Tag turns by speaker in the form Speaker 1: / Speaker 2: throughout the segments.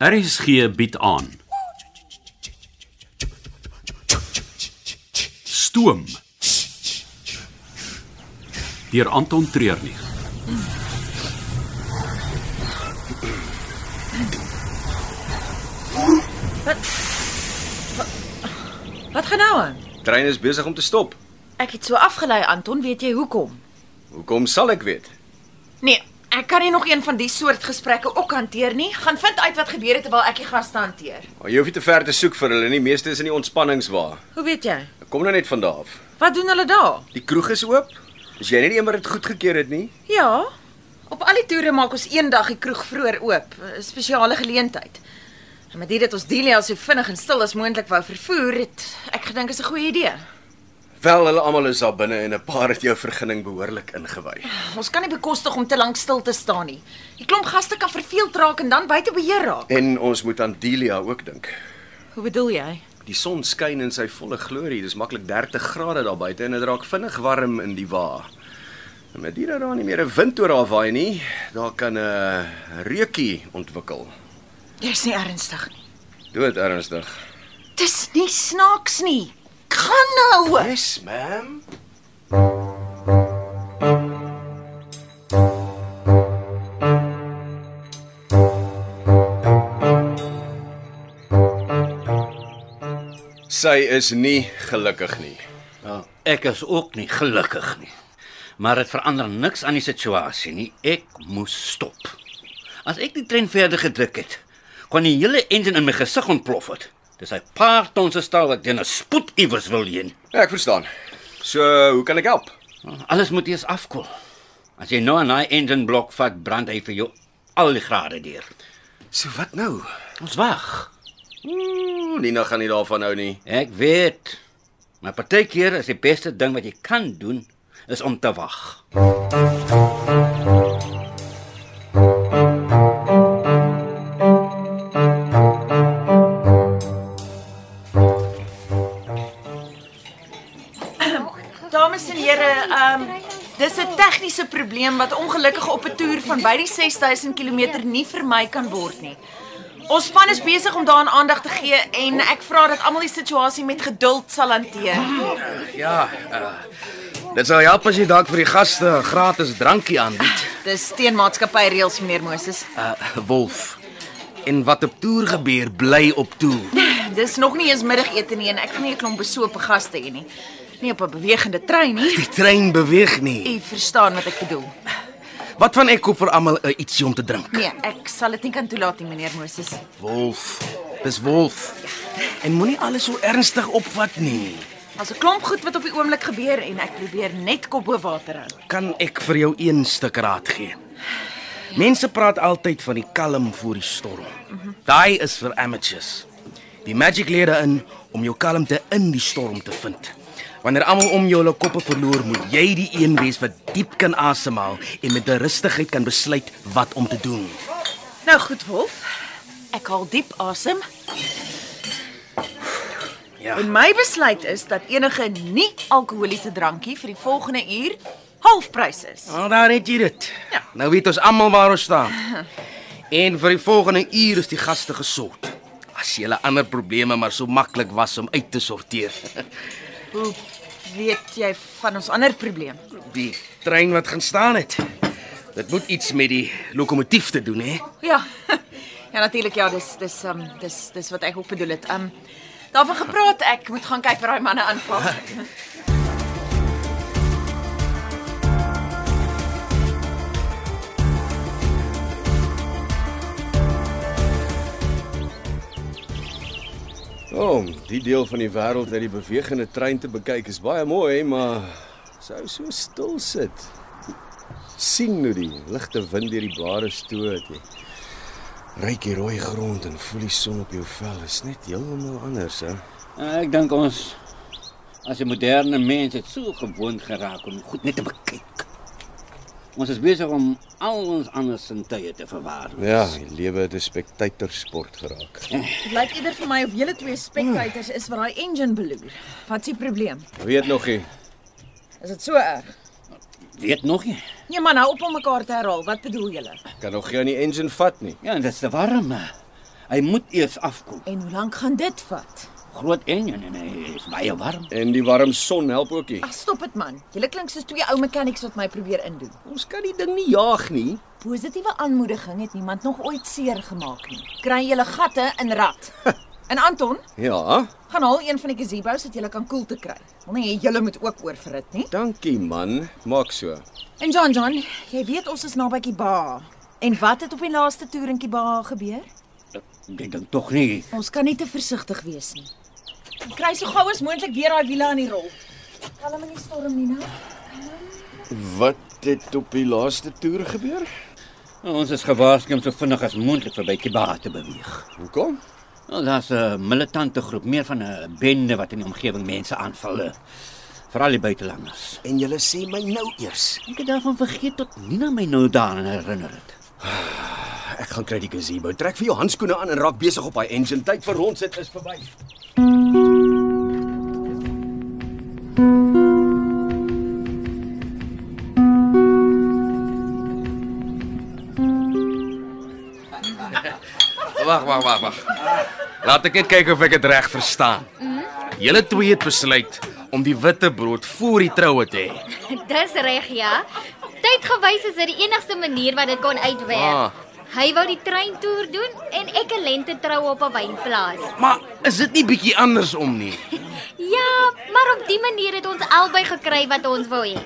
Speaker 1: RSG bied aan. Stoom. Deur Anton Treurnig.
Speaker 2: Wat gaan nou aan?
Speaker 3: Trein is besig om te stop.
Speaker 2: Ek het so afgelei, Anton, weet jy hoekom?
Speaker 3: Hoekom sal ek weet?
Speaker 2: Nee, ek kan nie nog een van die soort gesprekke ook hanteer nie. Gaan vind uit wat gebeur het terwyl ek die gaste hanteer.
Speaker 3: Maar jy hoef nie te ver te soek vir hulle nie. Meeste is in die ontspanningswa.
Speaker 2: Hoe weet jy?
Speaker 3: Kom nou net van daar af.
Speaker 2: Wat doen hulle daar?
Speaker 3: Die kroeg is oop. Is jy nie eendag dit goedgekeur het nie?
Speaker 2: Ja, op al die toere maak ons eendag die kroeg vroeër oop, 'n spesiale geleentheid. En met dit dat ons Delia so vinnig en stil as moontlik wou vervoer, het ek gedink is 'n goeie idee.
Speaker 3: Wel, hulle almal is daar binne en 'n paar het jou vergunning behoorlik ingewy.
Speaker 2: Ons kan nie bekostig om te lank stil te staan nie. Die klomp gaste kan verveeld raak en dan buite beheer raak.
Speaker 3: En ons moet aan Delia ook dink.
Speaker 2: Hoe bedoel jy?
Speaker 3: Die son skyn in sy volle glorie. Dis maklik 30 grade daar buite en dit raak vinnig warm in die wa. En met dit dat daar nie meer 'n wind oor haar waai nie, daar kan 'n reukie ontwikkel.
Speaker 2: Jy's nie ernstig nie.
Speaker 3: Dood ernstig.
Speaker 2: Dis nie snaaks nie. Gaan nou.
Speaker 3: Yes, ma'am. Sy is nie gelukkig nie.
Speaker 4: Wel, ek is ook nie gelukkig nie. Maar dit verander niks aan die situasie nie. Ek moes stop. As ek die trein verder gedruk het, kon die hele engine in my gesig ontplof het. Dis hy paar ton se staal wat teen 'n spoed iewers wil heen.
Speaker 3: Ek verstaan. So, hoe kan ek help?
Speaker 4: Alles moet eers afkoel. As jy nou aan daai engine blok vat, brand hy vir jou al die grade deur.
Speaker 3: So wat nou?
Speaker 4: Ons wag.
Speaker 3: Ooh, Nina gaan nie daarvan hou nie.
Speaker 4: Ek weet. Maar partykeer is die beste ding wat jy kan doen is om te wag.
Speaker 2: Dames en here, ehm um, dis 'n tegniese probleem wat ongelukkig op 'n toer van by die 6000 km nie vermy kan word nie. Ons span is besig om daaraan aandag te gee en ek vra dat almal die situasie met geduld sal hanteer.
Speaker 5: Ja. Uh, dit sal help as jy dalk vir die gaste 'n gratis drankie aanbied.
Speaker 2: Dis steenmaatskappy reëls meneer Moses.
Speaker 5: Uh Wolf. En wat op toer gebeur, bly op toer.
Speaker 2: Dis nog nie eens middagete nie en ek gaan nie 'n klomp besope gaste hê nie. Nie op 'n bewegende trein nie.
Speaker 5: Die trein beweeg nie.
Speaker 2: U verstaan wat ek bedoel.
Speaker 5: Wat van ek koop vir almal 'n ietsie om te drink?
Speaker 2: Nee, ek sal dit nie kan toelaat nie meneer Moses.
Speaker 5: Wolf. Dis Wolf. En moenie alles so ernstig opvat nie.
Speaker 2: Daar's 'n klomp goed wat op die oomblik gebeur en ek probeer net kop bo water hou.
Speaker 5: Kan ek vir jou een stuk raad gee? Mense praat altyd van die kalm voor die storm. Daai is vir amateurs. Die magic leer daarin om jou kalmte in die storm te vind. Wanneer almal om jou hulle koppe verloor, moet jy die een wees wat diep kan asemhaal en met 'n rustigheid kan besluit wat om te doen.
Speaker 2: Nou goed, Wolf. Ek haal diep asem
Speaker 5: Ja.
Speaker 2: en my besluit is dat enige nie-alkoholiese drankie vir die volgende uur halfprys is.
Speaker 5: Al Ah, daar het jy dit.
Speaker 2: Ja.
Speaker 5: Nou weet ons almal waar ons staan. En vir die volgende uur is die gaste gesort. As jy hulle ander probleme maar so maklik was om uit te sorteer.
Speaker 2: Hoe weet jy van ons ander probleem?
Speaker 5: Die trein wat gaan staan het. Dit moet iets met die lokomotief te doen, hè?
Speaker 2: Ja. Ja natuurlik ja, dis dis ehm um, dis dis wat ek ook bedoel het. Ehm um, daarvan gepraat, ek moet gaan kyk wat daai manne aanvang.
Speaker 3: O, oh, die deel van die wêreld uit die bewegende trein te bekyk is baie mooi, maar sou so stil sit. sien hoe die ligte wind deur die blare stoot. Jy ruik die rooi grond en voel die son op jou vel. Is net heeltemal anders, hè?
Speaker 4: Ek dink ons as 'n moderne mens het so gewoond geraak om goed net te bekyk. Ons is besig om al ons ander sintuie te verwaarloos.
Speaker 3: Ja, die lewe het 'n spektatorsport geraak.
Speaker 2: Dit lyk eerder vir my of julle twee spectators is wat daai engine beloer. Wat s'ie probleem?
Speaker 3: Weet nog nie.
Speaker 2: Is dit so erg?
Speaker 4: Weet nog nie.
Speaker 2: Nee man, hou op om mekaar te herhaal. Wat bedoel julle?
Speaker 3: Kan nog geen die engine vat nie.
Speaker 4: Ja, en dit is te warm. Hy moet eers afkoel.
Speaker 6: En hoe lank gaan dit vat?
Speaker 4: Groot enjin en hy is baie warm.
Speaker 3: En die warm son help ook nie.
Speaker 6: Ag, stop dit man. Julle klink soos twee ou mechanics wat my probeer indoen.
Speaker 3: Ons kan die ding nie jaag nie.
Speaker 6: Positiewe aanmoediging het niemand nog ooit seer gemaak nie. Kry julle gatte in rad. En Anton,
Speaker 3: Ja,
Speaker 6: gaan haal een van die gazebos dat julle kan koel te kry. Wil nie hê julle moet ook oorverhit nie.
Speaker 3: dankie man. Maak so.
Speaker 6: En John John, jy weet ons is naby Kiba. En wat het op die laaste toer in Kiba gebeur?
Speaker 4: Ek dink tog nie.
Speaker 6: Ons kan nie te versigtig wees nie. Kry so gou as moontlik weer daai wiele aan die rol. Kalm in die storm, Nina.
Speaker 3: Wat het op die laaste toer gebeur?
Speaker 4: Ons is gewaarsku om so vinnig as moontlik verby Kiba te beweeg.
Speaker 3: Hoekom?
Speaker 4: Wel, Nou, daar's 'n militante groep, meer van 'n bende wat in die omgewing mense aanval. eh, Veral die buitelanders.
Speaker 3: En jy sê my nou eers.
Speaker 4: Ek het daarvan vergeet tot Nina my nou daaraan herinner het.
Speaker 3: Ek gaan kry die gazebo. Trek vir jou handskoene aan en raak besig op daai engine. Tyd vir ons dit is verby.
Speaker 5: Wag, wag, wag, wag. Laat ek net kyk of ek dit reg verstaan. Julle twee het besluit om die witbrood voor die troue te hê.
Speaker 7: Dis reg, ja. Tyd gewys is dit die enigste manier wat dit kon uitwerk. Ah. Hy wou die treintoer doen en ek 'n lente trou op 'n wynplaas.
Speaker 5: Maar is dit nie bietjie andersom nie?
Speaker 7: Ja, maar op die manier het ons albei gekry wat ons wou hê.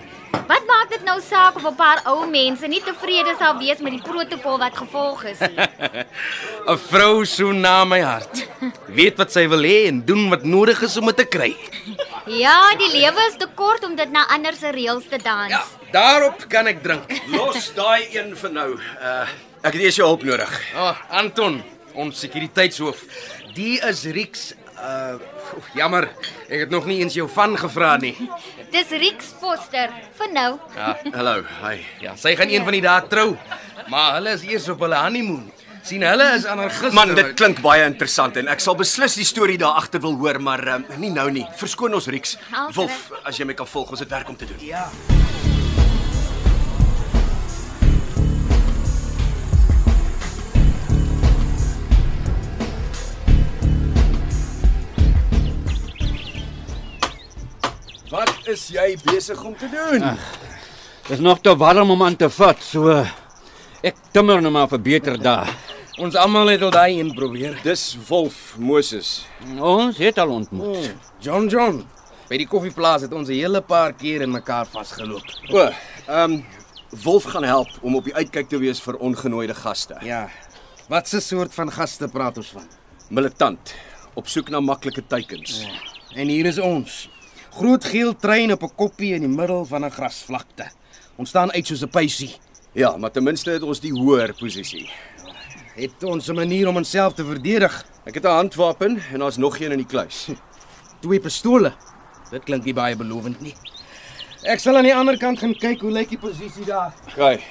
Speaker 7: Wat maak dit nou saak of 'n paar ou mense nie tevrede sal wees met die protokol wat gevolg is nie?
Speaker 5: 'n Vrou so na my hart. Weet wat sy wil hê en doen wat nodig is om dit te kry.
Speaker 7: Ja, die lewe is te kort om dit na ander se reëls te dans.
Speaker 5: Ja, daarop kan ek drink.
Speaker 3: Los daai een vir nou. Uh ek het eers jou hulp nodig.
Speaker 5: Ah, oh, Anton, ons sekuriteitshoof. Die is Rieks. Uh, oef, jammer. Ek het nog nie eens jou van gevra nie.
Speaker 7: Dis Rix Foster vir nou.
Speaker 5: Ja,
Speaker 3: Hallo. Hi.
Speaker 5: ja, sy gaan een van die dae trou, maar hulle is eers op hulle honeymoon. sien hulle is aan haar gister.
Speaker 3: Man, dit klink baie interessant en ek sal beslis die storie daar agter wil hoor, maar um, nie nou nie. Verskoon ons Rieks.
Speaker 7: Alfred.
Speaker 3: Wolf, as jy my kan volg, ons het werk om te doen. Ja. Wat is jy besig om te doen?
Speaker 4: Dis nog te warm om aan te vat, so eh, ek timmer nou maar vir beter dae.
Speaker 5: Ons almal het al daai een probeer.
Speaker 3: Dis Wolf Moses.
Speaker 4: Ons het al ontmoet.
Speaker 5: John John. By die koffieplaas het ons 'n hele paar keer in mekaar vasgeloop.
Speaker 3: O, ehm um, Wolf gaan help om op die uitkyk te wees vir ongenooide gaste.
Speaker 5: Ja. Wat 'n soort van gaste praat ons van?
Speaker 3: Militant, op soek na maklike teikens.
Speaker 5: En hier is ons. Groot geel trein op 'n koppie in die middel van 'n grasvlakte. Ons staan uit soos 'n pysie.
Speaker 3: Ja, maar ten minste het ons die hoër posisie.
Speaker 5: Het ons 'n manier om onsself te verdedig.
Speaker 3: Ek het 'n handwapen en daar's nog een in die kluis.
Speaker 5: Twee pistole. Dit klink nie baie belovend nie. Ek sal aan die ander kant gaan kyk hoe lyk die posisie daar.
Speaker 3: Okay.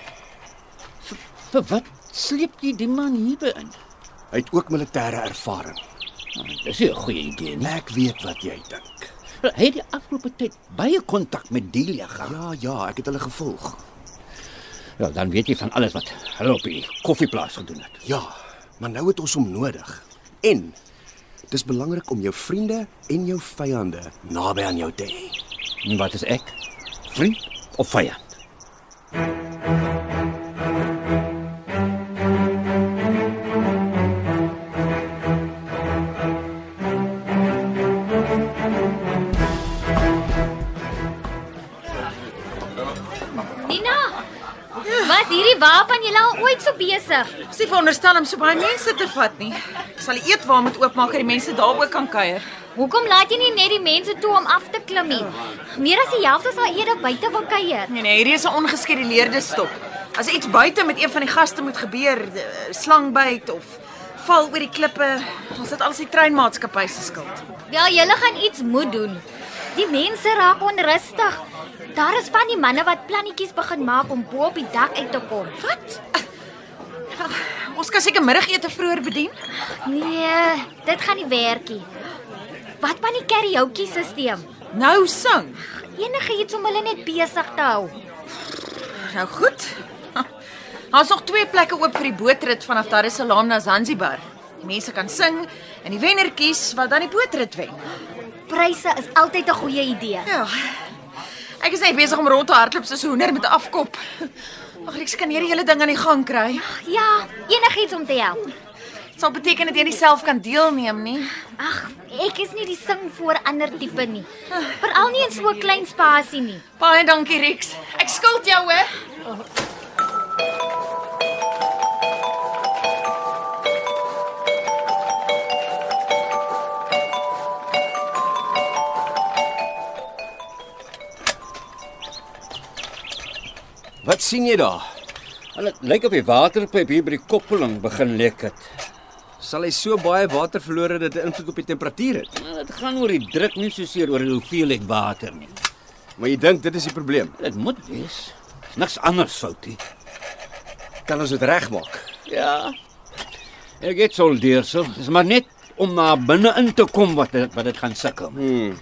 Speaker 4: Vir wat sleep jy die man hierbe in? Ah,
Speaker 3: Hy het ook militêre ervaring.
Speaker 4: Dis nie 'n goeie idee nie.
Speaker 3: Ek weet wat jy dink.
Speaker 4: Hy het die afgelope tyd baie kontak met Delia gehad.
Speaker 3: Ja, ja, ek het hulle gevolg.
Speaker 4: Wel, dan weet jy van alles wat hulle op die koffieplaas gedoen het.
Speaker 3: Ja, maar nou het ons hom nodig. En dis belangrik om jou vriende en jou vyande naby aan jou te hê.
Speaker 4: En wat is ek? Vriend of vyand?
Speaker 7: Nina, was hierdie waarvan jy al ooit so besig?
Speaker 2: Dis nie veronderstel om so baie mense te vat nie. Ek sal die eetwa moet oopmaak dat die mense daar ook kan kuier.
Speaker 7: Hoekom laat jy nie net die mense toe om af te klim nie? Meer as die helfte sal eerder buite wil kuier.
Speaker 2: Nee nee, hierdie is 'n ongeskeduleerde stop. As iets buite met een van die gaste moet gebeur, eh, slangbyt of val oor die klippe, ons dit alles die treinmaatskappy se skuld.
Speaker 7: Ja, julle gaan iets moet doen. Die mense raak onrustig. Daar is van die manne wat plannetjies begin maak om bo op die dak uit te kom. Wat?
Speaker 2: Ah, Ons kan seker middagete vroeër bedien.
Speaker 7: Nee, dit gaan nie werk nie. Wat van die karaoke stelsel?
Speaker 2: Nou sing.
Speaker 7: Enige iets om hulle net besig te hou.
Speaker 2: Nou goed. Daar's nog twee plekke oop vir die bootrit vanaf Dar es Salaam na Zanzibar. Die mense kan sing en die wenner kies wat dan die bootrit wen.
Speaker 7: Pryse is altyd 'n goeie idee.
Speaker 2: Ja. Ek is net besig om rond te hardloop soos 'n hoender met 'n afkop. Ag, ek kan hierdie hele ding aan die gang kry.
Speaker 7: Ja, enigiets om te help.
Speaker 2: Dit sal beteken dat jy nie self kan deelneem nie.
Speaker 7: Ag, ek is nie die sing voor ander tipe nie. Veral nie in so 'n klein spasie nie.
Speaker 2: Baie dankie Rex. Ek skuld jou hoor.
Speaker 3: Wat sien jy daar?
Speaker 4: Hulle lyk op die waterpyp hier by die koppeling begin lek het.
Speaker 3: Sal hy so baie water verloor het dat dit invloed op die temperatuur het?
Speaker 4: Maar dit gaan oor die druk nie soseer oor die hoeveelheid water nie.
Speaker 3: Maar jy dink dit is die probleem.
Speaker 4: Dit moet wees. Niks anders fout nie.
Speaker 3: Kan ons dit regmaak?
Speaker 4: Ja. Ek het soldeersel. Dis maar net om na binne in te kom wat dit- wat dit gaan sukkel.
Speaker 3: Hmm.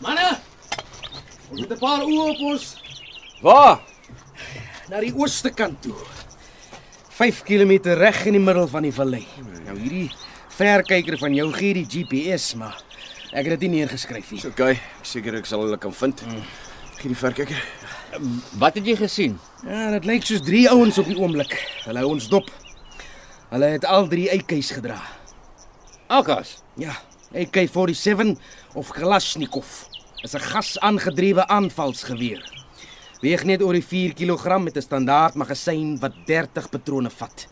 Speaker 5: Manne. Ons het 'n paar oë op ons
Speaker 3: Waar?
Speaker 5: na die ooste kant toe. 5 km reg in die middel van die vallei. Nou hierdie verkyker van jou gee die GPS, maar ek het dit nie neergeskryf nie.
Speaker 3: Dis okay. Ek seker ek sal hulle kan vind. Gee die verkyker.
Speaker 4: Wat het jy gesien?
Speaker 5: Ja, dit lyk soos drie ouens op die oomblik. Hulle hou ons dop. Hulle het al drie uitkies gedra.
Speaker 4: Akas.
Speaker 5: Ja, AK47 of Kalashnikov. Is 'n gas-aangedrewe aanvalsgeweer. Weeg net oor die 4 kg met 'n standaard magasyn wat 30 patrone vat.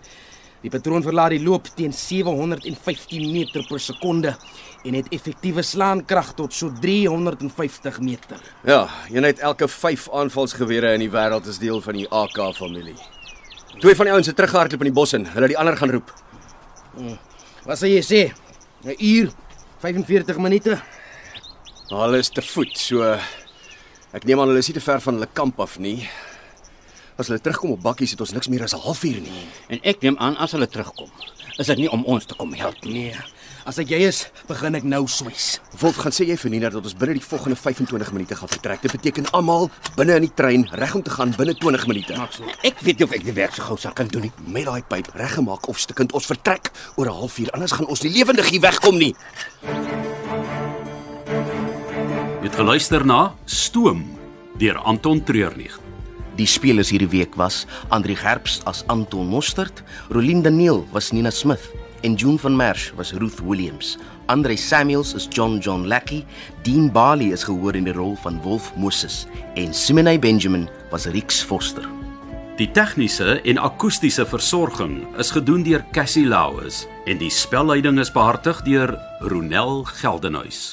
Speaker 5: Die patroon verlaat die loop teen 715 meter per sekonde en het effektiewe slaankrag tot so 350 meter.
Speaker 3: Ja, eenheid elke 5 aanvalsgewere in die wêreld is deel van die AK familie. Twee van die ouens het teruggehardloop in die bos in. Hulle het die ander gaan roep.
Speaker 5: Wat sê jy sê? 'n Uur 45 minute.
Speaker 3: Maar hulle is te voet, so ek neem aan hulle is nie te ver van hulle kamp af nie. As hulle terugkom op bakkies het ons niks meer as 'n halfuur nie.
Speaker 4: En ek neem aan as hulle terugkom, is dit nie om ons te kom help nie.
Speaker 5: Nee, as ek jy is, begin ek nou swys.
Speaker 3: Wolf, gaan sê jy vir Nina dat ons binne die volgende 25 minute gaan vertrek. Dit beteken almal binne in die trein reg om te gaan binne 20 minute.
Speaker 4: Ek weet nie of ek die werk so gou sal kan doen nie.
Speaker 3: Met daai pyp reggemaak of stikkend ons vertrek oor 'n halfuur, anders gaan ons nie lewendig hier wegkom nie.
Speaker 1: Jy het geluister na Stoom deur Anton Treurnig.
Speaker 8: Die spelers hierdie week was Andri Gerbst as Anton Mostert, Rolien Daniel was Nina Smith en June van Merwe was Ruth Williams. Andre Samuels is John John Lackey, Dean Bali is gehoor in die rol van Wolf Moses en Simone Benjamin was Rix Foster.
Speaker 1: Die tegniese en akoestiese versorging is gedoen deur Cassie Lauis en die spelleiding is behartig deur Ronel Geldenhuys.